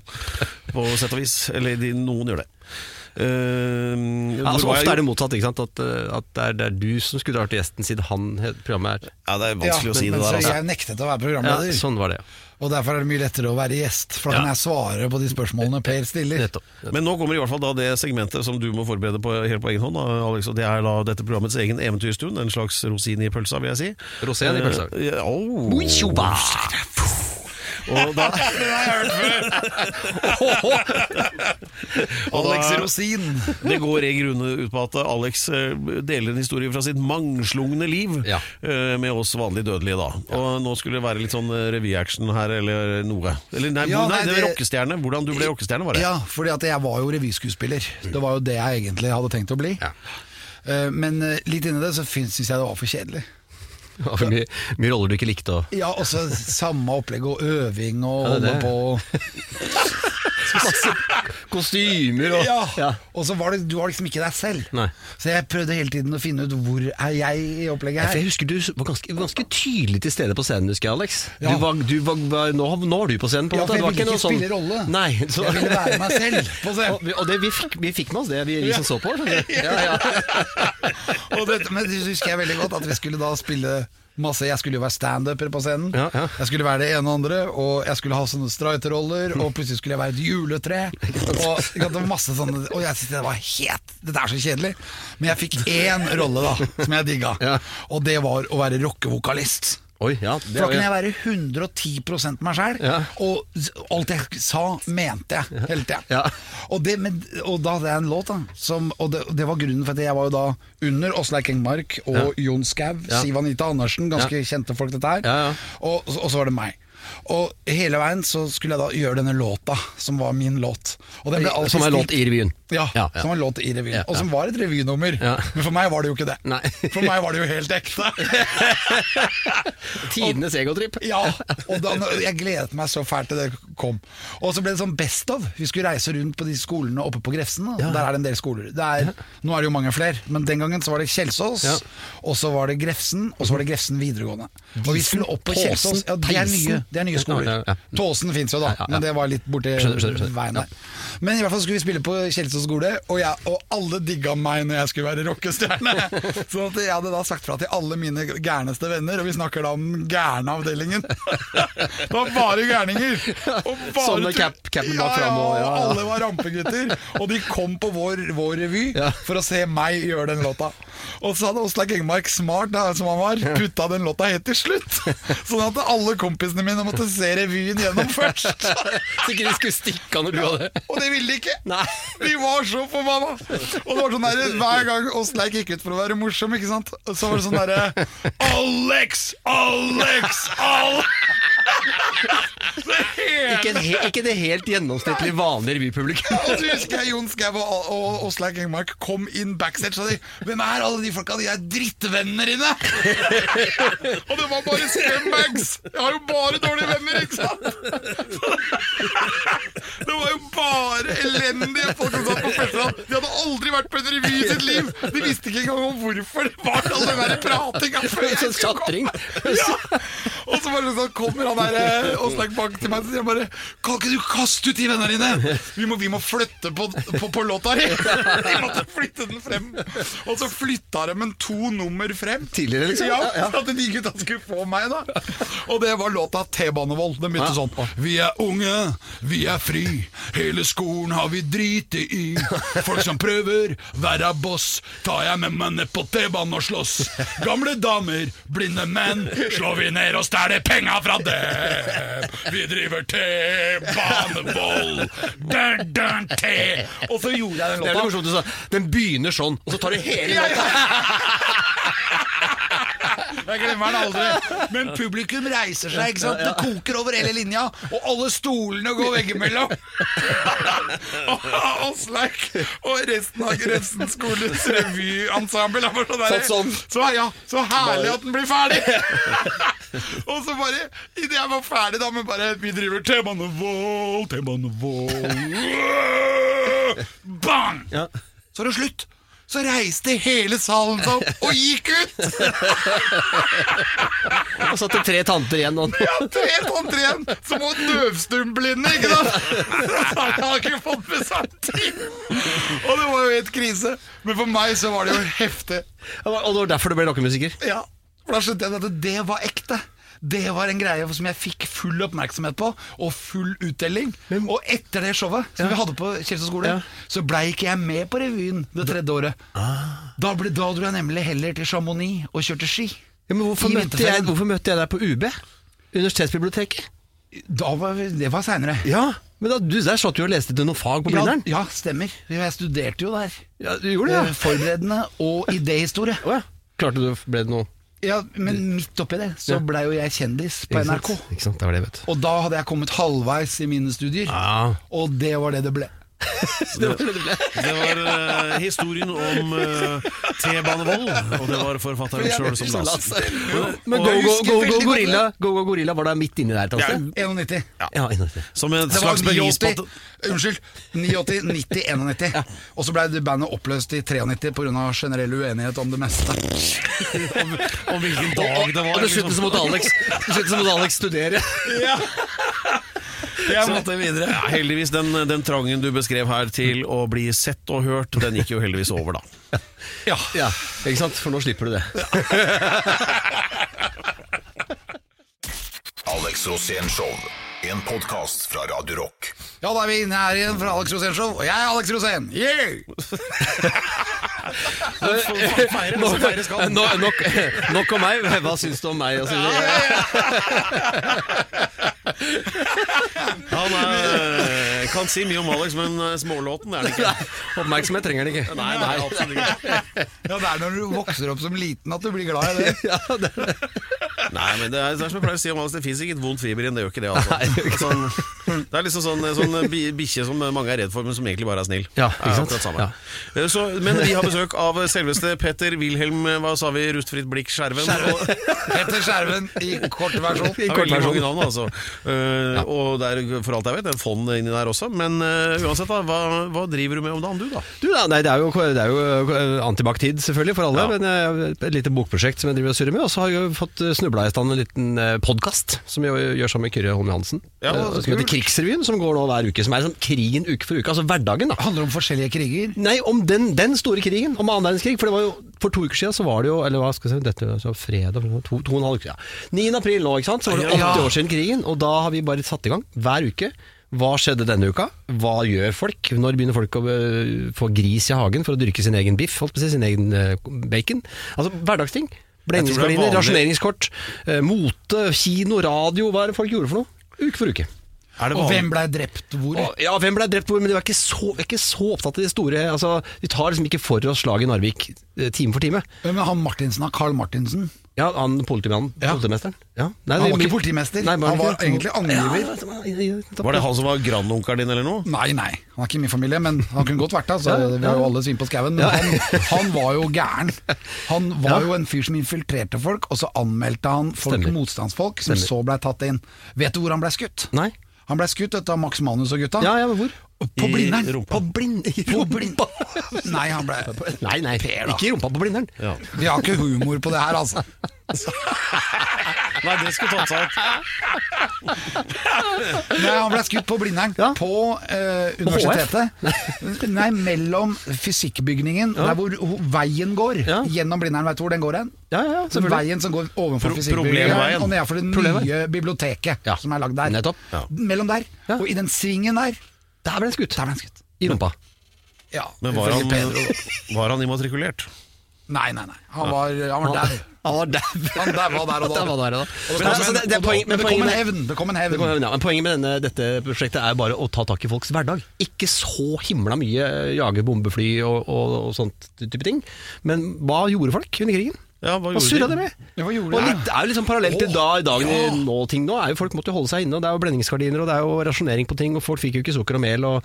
på sett og vis. Eller de, noen gjør det. Eh, Uh, Ja, altså, ofte er det motsatt, ikke sant? At, eh, at det, er, det er du som skulle dra til gjesten siden han het- programmet er Ja, det er vanskelig Ja, å si men- det der, men så altså. Jeg nektet å være ja, programleder, Sånn var det, og derfor er det mye lettere å være gjest. For da kan Ja. jeg svare på de spørsmålene Per ja. stiller. Nettopp. Men nå kommer i hvert fall da det segmentet som du må forberede på helt på egen hånd, da, Alex. Og det er da dette programmets egen eventyrstund. En slags rosin i pølsa, vil jeg si. Rosin i pølsa. Eh, ja, åh. Bonjour. Og da, Og da- Alex Rosin. Det går i grunnen ut på at Alex eh, deler en historie fra sitt mangslungne liv Ja. eh, med oss vanlig dødelige, da. Og nå skulle det være litt sånn eh, revyaction her, eller noe. Eller nei, Ja, nei, nei, det var det- rockestjerne. Hvordan du ble rockestjerne, var det. Ja, fordi at jeg var jo revyskuespiller. Det var jo det jeg egentlig hadde tenkt å bli. Ja. Eh, Men eh, litt inni det så syns jeg det var for kjedelig. Det var mye, mye roller du ikke likte. Og. Ja, også samme opplegg og øving og Ja, det holde er det. på. Kostymer og Ja. Og så var det, du var liksom ikke deg selv. Nei. Så jeg prøvde hele tiden å finne ut hvor er jeg i opplegget Ja, for her. jeg husker Du var ganske, ganske tydelig til stede på scenen, husker jeg, Alex. Ja. Du var, du var, var, nå, nå var du på scenen. på en Ja, måte. for jeg Det var ville ikke noe sånn- spille rolle. Nei, så- Jeg ville være meg selv på scenen. Og, vi- og det, vi, fikk, vi fikk med oss det, vi, vi som så på. skjønner du? Ja, ja. Og dette, men det husker jeg veldig godt At vi skulle da spille masse Jeg skulle jo være stand-upper på scenen Ja, ja. Jeg skulle være det ene og andre Og jeg skulle ha sånne strøyteroller Og plutselig skulle jeg være et juletre Og ikke sant, det var masse sånne Og jeg syntes det var helt Dette er så kjedelig Men jeg fikk én rolle da Som jeg digga Ja. Og det var å være rockevokalist Oi, ja, det, for da kunne jeg være 110 meg sjæl, Ja. og s- alt jeg sa, mente jeg hele tida. Ja. Og, det- men- og da hadde jeg en låt, da. Som, og det, og det var grunnen for at jeg var jo da under Åsleik Engmark og Jon Skau, Ja. Siv Anita Andersen, ganske kjente folk dette her. Ja, ja. Og, og så var det meg. Og hele veien så skulle jeg da gjøre denne låta, som var min låt. Og den ble alltid Som er låt spilt- i revyen. ja, Ja, ja. som var en låt i revyen, Ja, og som ja. var et revynummer. Ja. Men for meg var det jo ikke det. Nei. For meg var det jo helt ekte. Tidenes egotripp. Ja, og da, jeg gledet meg så fælt til det kom. Og så ble det sånn best of. Vi skulle reise rundt på de skolene oppe på Grefsen. Da. Der er det en del skoler. Det er, nå er det jo mange flere, men den gangen så var det Kjelsås, Ja. og så var det Grefsen, og så var det Grefsen videregående. Og vi skulle opp på Kjelsås. Tåsen, Ja, det er Theisen. nye, det er nye Ja, ja, skoler. ja. Tåsen fins jo da, Ja, ja, ja. men det var litt borti Skjønner, skjønner, skjønner. veien der. Men i hvert fall skulle vi spille på Kjelsås skole, og, jeg, og alle digga meg når jeg skulle være rockestjerne. Sånn at jeg hadde da sagt fra til alle mine gærneste venner, og vi snakker da om den gærne avdelingen. Det var bare gærninger! Og Sånn bare tull. med cap- capen bak ja, fram og- ja, ja, ja. og alle var rampegutter. Og de kom på vår, vår revy Ja. for å se meg gjøre den låta. Og så hadde Åslaug Engmark, smart da, som han var, putta den låta helt til slutt. Sånn at alle kompisene mine jeg måtte se revyen gjennom først. Så ikke de skulle stikke av når du hadde Og det ville de ikke! Nei. Vi var så forbanna! Og det var sånn der, hver gang oss leik gikk ut for å være morsom, ikke sant? Og så var det sånn derre Alex! Alex! Alex! Ikke, en he, ikke det helt gjennomsnittlig vanlige revypublikum. Og så husker jeg Jon Skau og- og Åsleik Engmark kom inn backstage og sa de, 'Hvem er alle de folka? De er drittvennene dine!' og det var bare scumbags! Jeg har jo bare dårlige venner, ikke sant? det var jo bare elendige folk som satt på festival. De hadde aldri vært på en revy i sitt liv! De visste ikke engang om hvorfor det var all den der pratinga før jeg Sånn skulle komme. chatring. Ja. Og så bare sånn kommer han der og snakker bak til meg og sier bare Kan ikke du kaste ut de vennene dine? Vi må, vi må flytte på, på, på låta di! De måtte flytte den frem. Og så flytta de den to nummer frem. Tidligere, liksom? Ja, Ja, ja. For at de gutta skulle få meg, da. Og det var låta T-banevold. Den begynte sånn Vi er unge, vi er fri. Hele skolen har vi driti i. Folk som prøver, være boss. Tar jeg med meg ned på T-banen og slåss. Gamle damer, blinde menn. Slår vi ned og stjeler penga fra dem. Vi driver T-banevold. Dun, dun, T. Og så gjorde jeg den Det er litt låta. morsomt du sa. Den begynner sånn, og så tar du hele Ja, ja. Jeg glemmer den aldri. Men publikum reiser seg, ikke sant? Det koker over hele linja, og alle stolene går veggimellom. Og Åsleik og resten av Grefsen skoles revyensemble er bare sånn der- Satt sånn. Så, ja, så herlig at den blir ferdig! og så bare, idet jeg var ferdig, da, men bare Vi driver T-banevold, T-banevold Bang! Så er det slutt. Så reiste hele salen seg opp og gikk ut! Og satt det tre tanter igjen. Og Ja, tre tanter igjen! Som var døvstumblinde, ikke sant? Han har ikke fått med seg ting! Og det var jo helt krise. Men for meg så var det jo heftig. og det var derfor du ble rockemusiker. Ja, for da skjønte jeg at det var ekte. Det var en greie som jeg fikk full oppmerksomhet på, og full utdeling. Og etter det showet som vi hadde på Kjelsås skole, Ja. så blei ikke jeg med på revyen det tredje året. Ah. Da, ble, da dro jeg nemlig heller til Chamonix og kjørte ski. Ja, men hvorfor I møtte, vinterferien. jeg, hvorfor møtte jeg deg på UB? Universitetsbiblioteket? Da var, vi- det var seinere. Ja, men da, du, Der satt du og leste til noen fag på Ja, Blindern. ja, stemmer. Jeg studerte jo der. Ja, du gjorde Eh, det, Forberedende og idéhistorie. ja. Å ja. Klarte du ble det noe? Ja, men midt oppi det så Ja. blei jo jeg kjendis på Ikke sant? NRK. Ikke sant, det var det, vet du. Og da hadde jeg kommet halvveis i mine studier, Ah. og det var det det ble. Det var eh, historien om eh, T-banevold, og det var forfatteren sjøl som la oss. Men Og Go jeg Go, husker go, veldig go, godt gorilla, go, go Gorilla var da midt inni der et annet sted? 91. Ja, inni der. Som et Det var slags bevis på 89, at unnskyld. 89, 90, 91. Og så blei bandet oppløst i 93 pga. generell uenighet om det meste. om, om hvilken dag det Og var. liksom. dessuten så måtte Alex, dessuten så måtte Alex studere. Jeg Så- måtte videre. Ja, heldigvis, den, den trangen du beskrev her til å bli sett og hørt, den gikk jo heldigvis over, da. Ja. Ikke sant? For nå slipper du det. Alex Rosénshow. En podkast fra Radio Rock. Ja, da er vi inne her igjen fra Alex Rosén Show, og jeg er Alex Rosén! Yeah! Nok, nå- nok, nok om meg. Hva syns du om meg? Altså, Og så videre. Han er, eh, kan si mye om Alex, men eh, smålåten er det ikke. Nei, Oppmerksomhet trenger han ikke. Nei, nei, absolutt ikke. Ja, Det er når du vokser opp som liten at du blir glad i det. Nei, men det er, det er som jeg pleier å si om Alex, det fins ikke et vondt fiber i ham, det gjør ikke det. Altså. Sånn, det er liksom sånn, sånn bi- bikkje som mange er redd for, men som egentlig bare er snill. Ja, ikke Er sant? akkurat samme. Eh, Så, men vi har besøk av selveste Petter Wilhelm, eh, hva sa vi, Rustfritt Blikk Skjerven. Og- Petter Skjerven i kort versjon. I Det er kort veldig versjon. mange navn, altså. Eh, Og det er for alt jeg vet, en fond inni der også. Men eh, uansett, da, hva, hva driver du med om dagen, du, da? Du, da, nei, det er jo, det er jo antibac-tid selvfølgelig for alle, Ja. men eh, et lite bokprosjekt som jeg driver og surrer med. Og så har jeg jo fått eh, snubla i stand en liten podkast som jeg gjør sammen med Kyrre Holm Johansen. Ja, eh, så som heter kult. Krigsrevyen, som går nå hver uke. Som er sånn krigen uke for uke, altså hverdagen. da handler om forskjellige kriger. Nei, om den, den store krigen, om annen verdenskrig. For det var jo, for to uker siden så var det jo Eller hva skal jeg si, dette var så fredag for to, to og en halv uke siden. 9. april nå, ikke sant? Så var det 80 Ja. år siden krigen, og da har vi bare satt i gang hver uke. Hva skjedde denne uka? Hva gjør folk? Når begynner folk å eh, øh, få gris i hagen for å dyrke sin egen biff, holdt på å si, sin egen øh, bacon? eh, Altså hverdagsting. Blendingsgardiner, vanlig. rasjoneringskort, eh, mote, kino, radio. Hva er det folk gjorde for noe? Uke for uke. Er det Og vanlig- hvem blei drept hvor? Og, ja, hvem ble drept hvor? Men vi er ikke så, vi er ikke så opptatt av de store altså, Vi tar liksom ikke for oss slaget i Narvik eh, time for time. Hvem er han Martinsen da? Carl Martinsen? Ja, han politimannen. Ja. Politimesteren. Ja. Nei, Han det- var ikke politimester, Nei, han var ikke? egentlig angiver. Ja, nettopp. Var det han som var grandonkelen din, eller noe? Nei, nei, han er ikke i min familie, men han kunne godt vært det. Så vi har jo alle svin på skauen. Men han, han var jo gæren. Han var jo en fyr som infiltrerte folk, og så anmeldte han folk, Stemmer. motstandsfolk, som så blei tatt inn. Vet du hvor han blei skutt? Nei. Han blei skutt vet du, av Max Manus og gutta. Ja, ja, men hvor? På I Blindern. rumpa. blind... I På Blindern. Nei, han ble Nei, nei, ikke i rumpa på blinderen. Ja. Vi har ikke humor på det her, altså. Nei, det skulle tatt seg ut. Nei, han ble skutt på Blindern. Ja. På eh, universitetet. Nei, mellom fysikkbygningen, der hvor ho- veien går. Ja. Gjennom Blindern, vet du hvor den går hen? Ja, ja, selvfølgelig. veien som går ovenfor Pro- fysikkbygningen, problemveien. og nedenfor det nye Problemveien. biblioteket Ja. som er lagd der. Nettopp. Ja. Mellom der, Ja. og i den svingen der, Der ble han skutt. der ble han skutt. I rumpa. Ja, Men var ifølge han, Pedro. var han immatrikulert? Nei, nei, nei. Han var, han var der. Han var dau. Han der var der og da. Han var der og da. Og Men altså, det- det er poeng- men det kom en poenget med- hevn. Det kom en Det hevn. kommer jeg med, ja. Men poenget med denne, dette prosjektet er bare å ta tak i folks hverdag. Ikke så himla mye eh, jage bombefly og, og, og sånt type ting. Men hva gjorde folk under krigen? Ja, hva gjorde surra de? de med? Ja, hva gjorde og de? litt, det er jo liksom parallelt til da, i dagen i nåting nå. Er jo, folk måtte jo holde seg inne, og det er jo blendingsgardiner og det er jo rasjonering på ting, og folk fikk jo ikke sukker og mel. Og,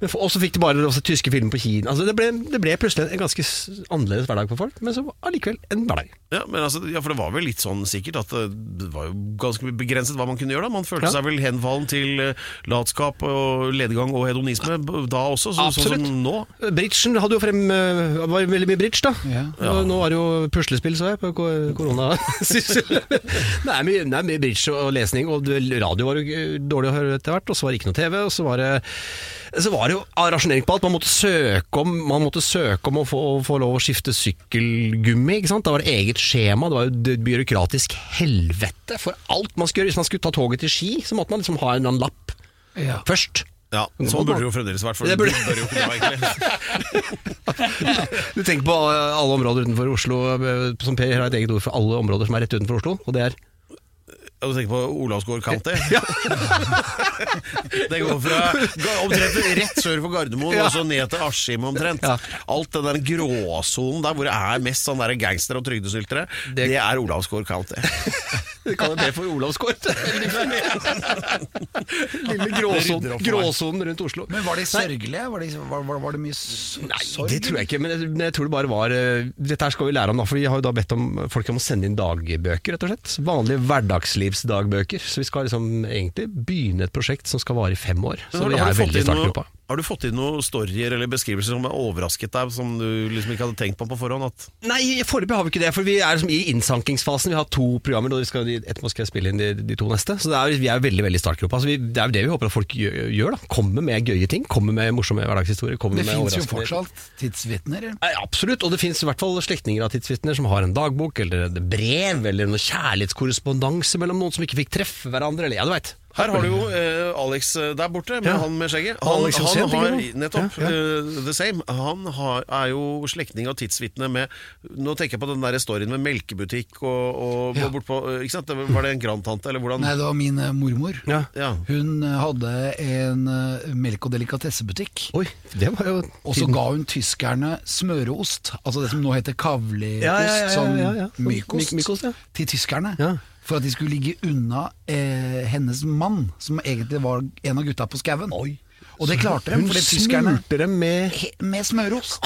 men for- og så fikk de bare også tyske filmer på Kina. Altså, det, ble, det ble plutselig en ganske s- annerledes hverdag for folk, men så allikevel en hverdag. Ja, men altså, ja, for det var vel litt sånn sikkert at eh, det var jo ganske begrenset hva man kunne gjøre. da Man følte Ja. seg vel henfallen til eh, latskap og ledegang og hedonisme b- da også, så, sånn som nå. Bridgen hadde jo frem eh, Det var jo veldig mye bridge, da. Ja. Og Nå var det jo puslespill, så jeg, på ko- korona. det, er mye, det er mye bridge og lesning, og det- radio var jo eh, dårlig å høre etter hvert. Og så var det ikke noe TV, og så var det, så var det jo rasjonering på alt. Man måtte søke om, man måtte søke om å, få, å få lov å skifte sykkelgummi. Ikke sant? Da var det eget skjema. Det var jo et byråkratisk helvete for alt man skulle gjøre. Hvis man skulle ta toget til Ski, så måtte man liksom ha en eller annen lapp Ja. først. Ja, Sånn burde det jo fremdeles vært. For Det det burde- burde jo ikke være, egentlig. Du tenker på eh, alle områder utenfor Oslo, eh, som Per har et eget ord for alle områder som er rett utenfor Oslo, og det er Ja, Du tenker på Olavsgård Kanté? det går fra ga- omtrent rett sør for Gardermoen og så ned til Askim omtrent. Ja. Alt den der gråsonen der hvor det er mest sånn der gangster og trygdesyltere, det, er Olavsgård Kanté. Det kaller Per for Olavsgård. Lille Det rydder gråsonen opp for meg. gråsonen rundt Oslo. Men var de sørgelige? Var, de, var, var, var det mye s- sorg? Nei, det tror jeg ikke, men jeg, men jeg tror det bare var eh, Dette her skal vi lære om, da, for vi har jo da bedt om folk om å sende inn dagbøker, rett og slett. Vanlige hverdagslivsdagbøker. Så vi skal liksom egentlig begynne et prosjekt som skal vare i fem år. Så vi har, er du fått veldig i inn startgruppa. noe, har du fått inn noen storyer eller beskrivelser som har overrasket deg, som du liksom ikke hadde tenkt på på forhånd? At Nei, foreløpig har vi ikke det, for vi er liksom i innsankingsfasen. Vi har to programmer, og vi skal, etterpå skal jeg spille inn de, de to neste. Så det er, vi er veldig veldig i startgropa. Så vi, det er jo det vi håper at folk gjør, gjør. da Kommer med gøye ting. Kommer med morsomme hverdagshistorier. Kommer Det med fins jo overraskende- fortsatt tidsvitner. Nei, Absolutt, og det finnes i hvert fall slektninger av tidsvitner som har en dagbok, eller et brev, eller noe kjærlighetskorrespondanse mellom noen som ikke fikk treffe hverandre, eller ja, du veit. Her har du jo eh, Alex eh, der borte, med Ja. han med skjegget. Han, Alex han, Rosén, har tenker du på? nettopp Ja, eh, the same. Han har, er jo slektning av tidsvitne med Nå tenker jeg på den der storyen med melkebutikk og, og Ja. bortpå eh, Ikke sant? Det var- Var det en grandtante, eller hvordan? Nei, det var min eh, mormor. Ja. Ja. Hun eh, hadde en eh, melk- og delikatessebutikk. Oi, det var jo Og så ga hun tyskerne smøreost, altså det som nå heter kavliost, Ja, ja, ja, ja, ja, ja. som mykost, Myk- mykost, ja. til tyskerne. Ja. For at de skulle ligge unna eh, hennes mann, som egentlig var en av gutta på skauen. Og det klarte de, Hun fordi tyskerne smurte dem med he- Med smøreost!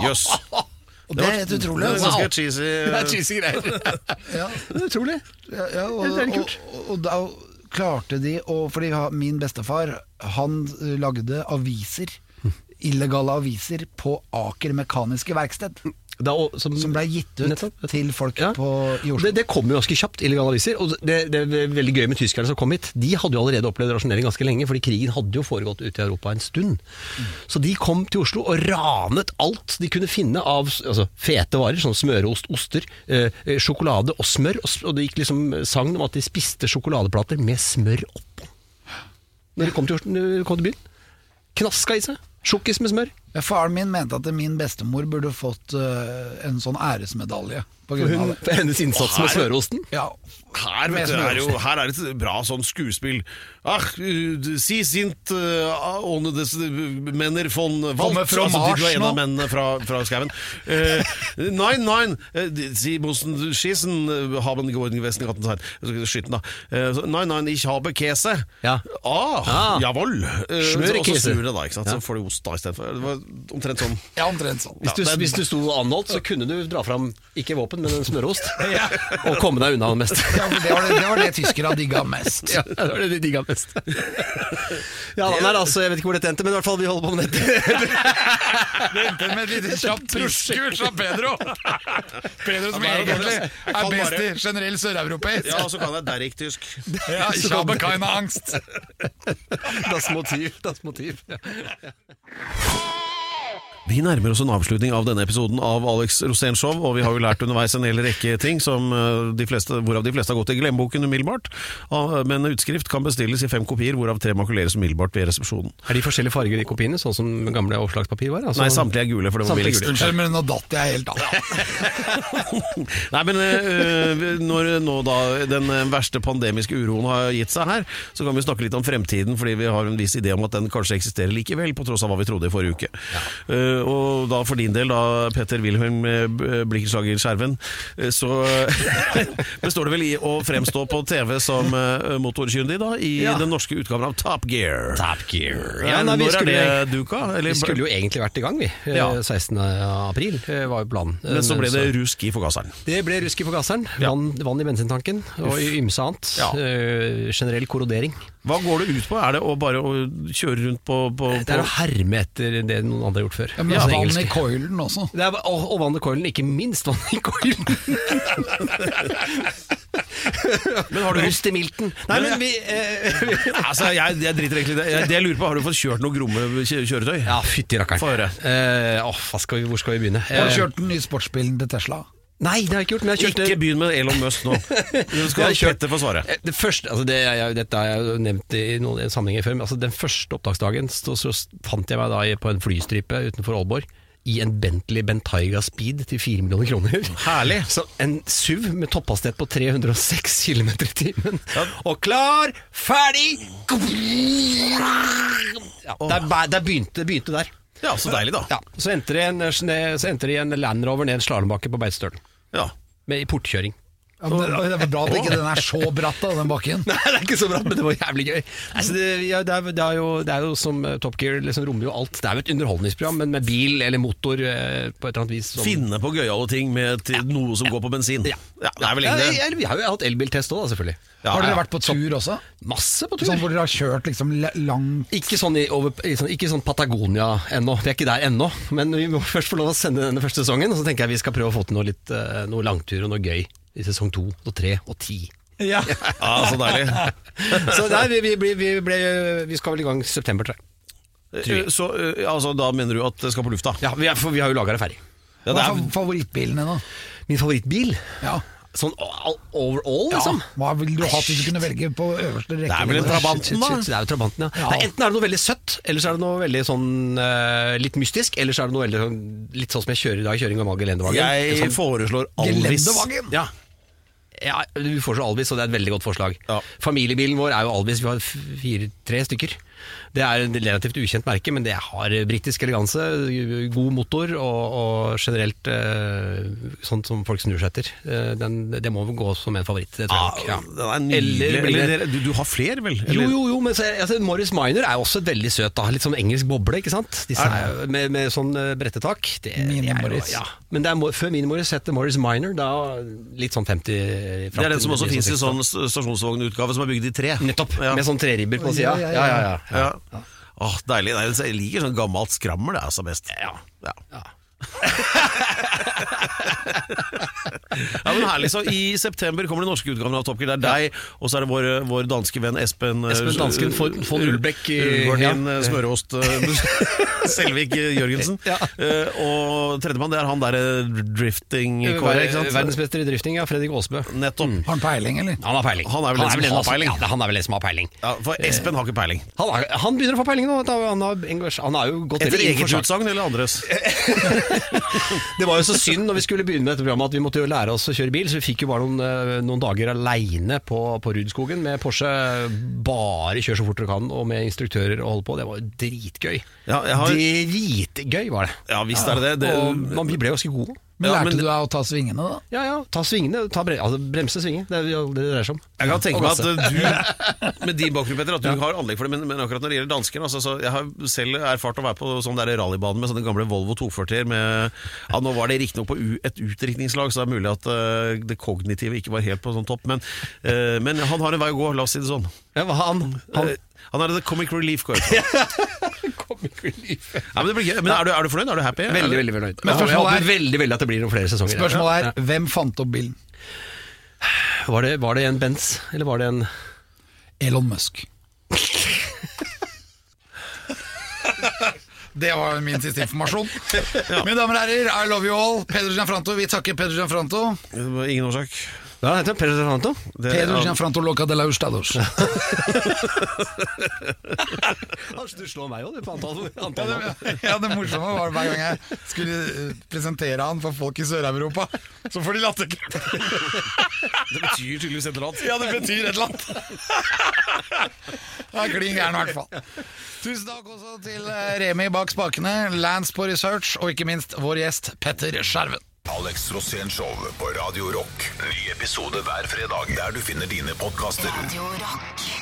Jøs! Og det, er helt utrolig. Det er altså. ganske cheesy. eh, cheesy greier. Ja. Utrolig. Ja, ja, og, Det er og, litt kult. og, og da klarte de å Fordi ha- min bestefar, han eh, lagde aviser. Hm. Illegale aviser på Aker Mekaniske Verksted. Da, og, som, Som ble gitt ut Nettopp. til folk Ja. på, i Oslo. Det, det kom jo ganske kjapt, illegale aviser. Og det, det er veldig gøy med tyskerne som kom hit. De hadde jo allerede opplevd rasjonering ganske lenge, fordi krigen hadde jo foregått ute i Europa en stund. Mm. Så de kom til Oslo og ranet alt de kunne finne av altså, fete varer, som smøreost, oster, eh, eh, sjokolade og smør. Og, s- og det gikk liksom sagn om at de spiste sjokoladeplater med smør oppå. Når de kom til, Oslo- når de kom til byen. Knaska i seg. Sjokkis med smør. Ja, Faren min mente at min bestemor burde fått eh, en sånn æresmedalje. På grunn av Hun, det. hennes innsats med smøreosten. Ja, Her, Med vet du, smør er jo, her er det et bra sånn skuespill. Ach, uh, si sint uh, ånde des menner von Walt. Kommer fra altså, Mars du er en nå. av mennene fra, fra skauen. Eh, nein, nein, eh, sie müssen schießen, eh, haben geordnet 18 Zeit. Skyten, da. Eh, så, nein, nein, ich habe Käse. Ja. Ah, Ah. jawohl. Eh, Smør i og så Käse. snur det da, ikke sant? Ja. Så får du ost da istedenfor. Det var omtrent sånn. ja omtrent sånn. Hvis du, hvis du sto anholdt, så kunne du dra fram ikke våpen, men en smøreost. Og komme deg unna det meste. Ja, for det, var det, det var det tyskerne digga mest. Ja, det var det de digga mest. Ja, da, nei, altså, jeg vet ikke hvor dette endte, men i hvert fall vi holder på med dette. Vente med et lite kjapt Kurs av Pedro! Pedro som egentlig er best i generell søreuropeisk. Ja, og så kan jeg derrik-tysk. Ja, Kjabbe Kaina Angst. Das Motiv. Das Motiv. Ja. Vi nærmer oss en avslutning av denne episoden av Alex Rosén Show, og vi har jo lært underveis en hel rekke ting, som eh, de fleste, hvorav de fleste har gått i glemmeboken umiddelbart. Ah, Men utskrift kan bestilles i fem kopier, hvorav tre makuleres umiddelbart ved resepsjonen. Er de forskjellige farger i kopiene, sånn som gamle overslagspapir var? Altså- Nei, samtlige er gule, for det var Samtlige billigst. Unnskyld, men nå datt jeg helt av. Nei, men eh, når nå da den eh, verste pandemiske uroen har gitt seg her, så kan vi snakke litt om fremtiden, fordi vi har en viss idé om at den kanskje eksisterer likevel, på tross av hva vi trodde i forrige uke. Eh, og da for din del, da, Petter Wilhelm eh, B- Blikkenslager Skjerven, eh, så består det vel i å fremstå på TV som eh, motorkyndig, da, i Ja. den norske utgaven av Top Gear. Top Gear. Ja, Ja, nei, vi Når skulle, er det duka? Eller, vi skulle jo egentlig vært i gang, vi. Eh, Ja. 16. april eh, var jo planen. men så ble det rusk i forgasseren. Det ble rusk i forgasseren. Vann, vann i bensintanken og i ymse annet. Ja. Eh, generell korrodering. Hva går det ut på? Er det å bare å kjøre rundt på, på, Eh, Det på er å herme etter det noen andre har gjort før. Ja, men Altså, vann i engelske. coilen også. det er, og, og vann i coilen, ikke minst vann i coilen. Men har du Rust i milten. Nei, men vi eh, Altså, jeg, jeg driter egentlig i det. Jeg, det jeg lurer på, har du fått kjørt noe gromme kjø- kjøretøy? Ja, fytti rakkeren. Få høre. Eh, åh, hva skal vi, hvor skal vi begynne? Har du Eh, kjørt den nye sportsbilen til Tesla? Nei, det har jeg ikke gjort. Men jeg har kjørt Ikke begynn med Elon Musk nå. Du skal Jeg har kjørt- Petter få svare. Eh, Det første, altså det, er jeg, dette har jeg jo nevnt i noen sammenhenger før, men altså den første opptaksdagen så, så fant jeg meg da i- på en flystripe utenfor Aalborg i en Bentley Bentayga Speed til 4 millioner kroner. Herlig. Så en SUV med topphastighet på 306 km i timen. Og klar, ferdig ja, der, bæ- der begynte det begynte der. Ja, så deilig, da. Ja, så endte det en, så endte det i en Land Rover ned en slalåmbakke på Beitostølen. Ja. Med i portkjøring. Ja, men det, det er bra at ikke den er så bratt, da, den bakken. Nei, det er ikke så bra, men det var jævlig gøy. Altså, det, ja, det, er, det, er jo, det er jo som eh, Top Gear, liksom rommer jo alt. Det er jo et underholdningsprogram, men med bil eller motor eh, på et eller annet vis. Som, Finne på gøyale ting med til noe som går på bensin. Ja. Ja, det er vel ja, egentlig det. jeg, vi har jo hatt elbiltest òg, da, selvfølgelig. Har ja. dere vært på tur også? Masse på tur. Sånn hvor dere har kjørt liksom la- langt Ikke sånn, i, over, i sånn, ikke sånn Patagonia ennå, vi er ikke der ennå. Men vi må først få lov å sende denne første sesongen, og så tenker jeg vi skal prøve å få til noe, litt, eh, noe langtur og noe gøy i sesong to og tre og ti. Ja, så deilig. Så nei, vi, vi, blir- vi, ble- vi skal vel i gang september, tror jeg. Eh, Så eh, altså, da mener du at det skal på lufta? Ja, vi, er, for vi har jo laga det ferdig. Ja, Hva det er er, fa- favorittbilene da? Min favorittbil Ja. Sånn all, overall, liksom? Hva ville du hatt hvis du kunne velge på øverste rekke? vel en Trabant. Trabanten, Shit, shit, da? shit, Det er jo Trabanten, ja. Ja. Nei, enten er det noe veldig søtt, eller så er det noe veldig sånn eh, litt mystisk, eller så er det noe veldig sånn, litt sånn som jeg kjører i dag, kjøring av Mag Gelendevagen. jeg foreslår Alvis. Gelendevagen. Ja. Ja, du foreslår Alvis, og det er et veldig godt forslag. Ja. Familiebilen vår er jo Alvis, vi har f- fire, tre stykker. Det er et relativt ukjent merke, men det har britisk eleganse, god motor og, og generelt eh, sånn som folk snur seg etter. Eh, den, det må gå som en favoritt, det tror jeg. nok, Ja, ja. den er nydelig. Eller blir det- Eller, du, du har flere, vel? Jo, Eller- jo, jo, men så, altså, Morris Minor er jo også veldig søt, da. Litt sånn engelsk boble, ikke sant? Disse er, med, med sånn eh, brettetak. Det, Mini det er jo- Morris. Ja. Men det er, Mo- før Mini Morris het det Morris Minor, da litt sånn 50 Det er den som også finnes i sånn st- stasjonsvognutgave som er bygd i tre. Nettopp. Ja. Med sånn treribber på Ja, sida. ja, ja, Ja, ja, ja. Ja. Åh, deilig. Nei, jeg liker sånn gammelt skrammel, det er altså best. Ja. Ja. Ja, men herlig, så I september kommer den norske utgaven av Top Gear. Det er deg, og så er det vår, vår danske venn Espen eh, Espen dansken von- von Ulbæk i- Ulvertin ja. eh, Smøråst eh, Selvik eh, Jørgensen. Ja. Eh, og tredjemann, det er han derre drifting-kåret, ikke sant? Verdensmester Mm. i drifting, ja. Fredrik Aasbø. Nettopp. Har han peiling, eller? Han har peiling. Han er vel den som har altså- peiling. Ja, han er vel den som har peiling. Ja, for Espen har ikke peiling. Han, er, han begynner å få peiling nå. vet du. Han, har engasj- han er jo gått Etter inn for eget sjakk. utsagn eller andres? Eh, Det var jo så synd når vi skulle begynne med dette programmet at vi måtte jo lære oss å kjøre bil, så vi fikk jo bare noen, eh, noen dager aleine på, på Rudskogen med Porsche. Bare kjør så fort dere kan, og med instruktører og holde på. Det var jo dritgøy. Ja, jeg har- Dritgøy var det. Ja visst er det det. og det man, vi ble jo ganske gode. Men Ja, lærte men- du deg å ta svingene, da? Ja ja, ta svingene. Ta bre altså, bremse svinge. Det er jo det det dreier seg om. jeg kan tenke Og meg at du, med din bakgrunn, Petter, at du har anlegg for det, men, men akkurat når det gjelder dansker altså, så Jeg har selv erfart å være på sånn der rallybane med sånne gamle Volvo 240 med ja, Nå var det riktignok på u, et utdrikningslag, så det er mulig at eh, det kognitive ikke var helt på sånn topp, men, eh, men han har en vei å gå, la oss si det sånn. Ja, hva han, han Eh, han er the comic relief går jeg ut fra. Ja, men det blir gøy. Men er du, er du fornøyd? Er du happy? Veldig, Er du- veldig fornøyd. Men Men jeg spørsmålet håper veldig veldig at det blir noen flere sesonger. Spørsmålet er, hvem fant opp bilen? Var det, var det en Benz, eller var det en Elon Musk. Det var min siste informasjon. Mine damer og herrer, I love you all. Peder Gianfranto, vi takker Peder Gianfranto. Ingen årsak. Hva heter han? Pedro Santo? Det, Peder ja, Gianfranto Loca de la Ustados. Du slår meg òg, du, på Ja, det, ja, det morsomme var det hver gang jeg skulle eh, presentere han for folk i Sør-Europa, så får de latterkrampe. det betyr tydeligvis et eller annet. Ja, det betyr et eller annet. Det er klin gæren, i hvert fall. Tusen takk også til eh, Remi bak spakene, Lance på research, og ikke minst vår gjest Petter Skjerven. Alex Rosén Show på Radio Rock. Ny episode hver fredag der du finner dine podkaster. Radio Rock.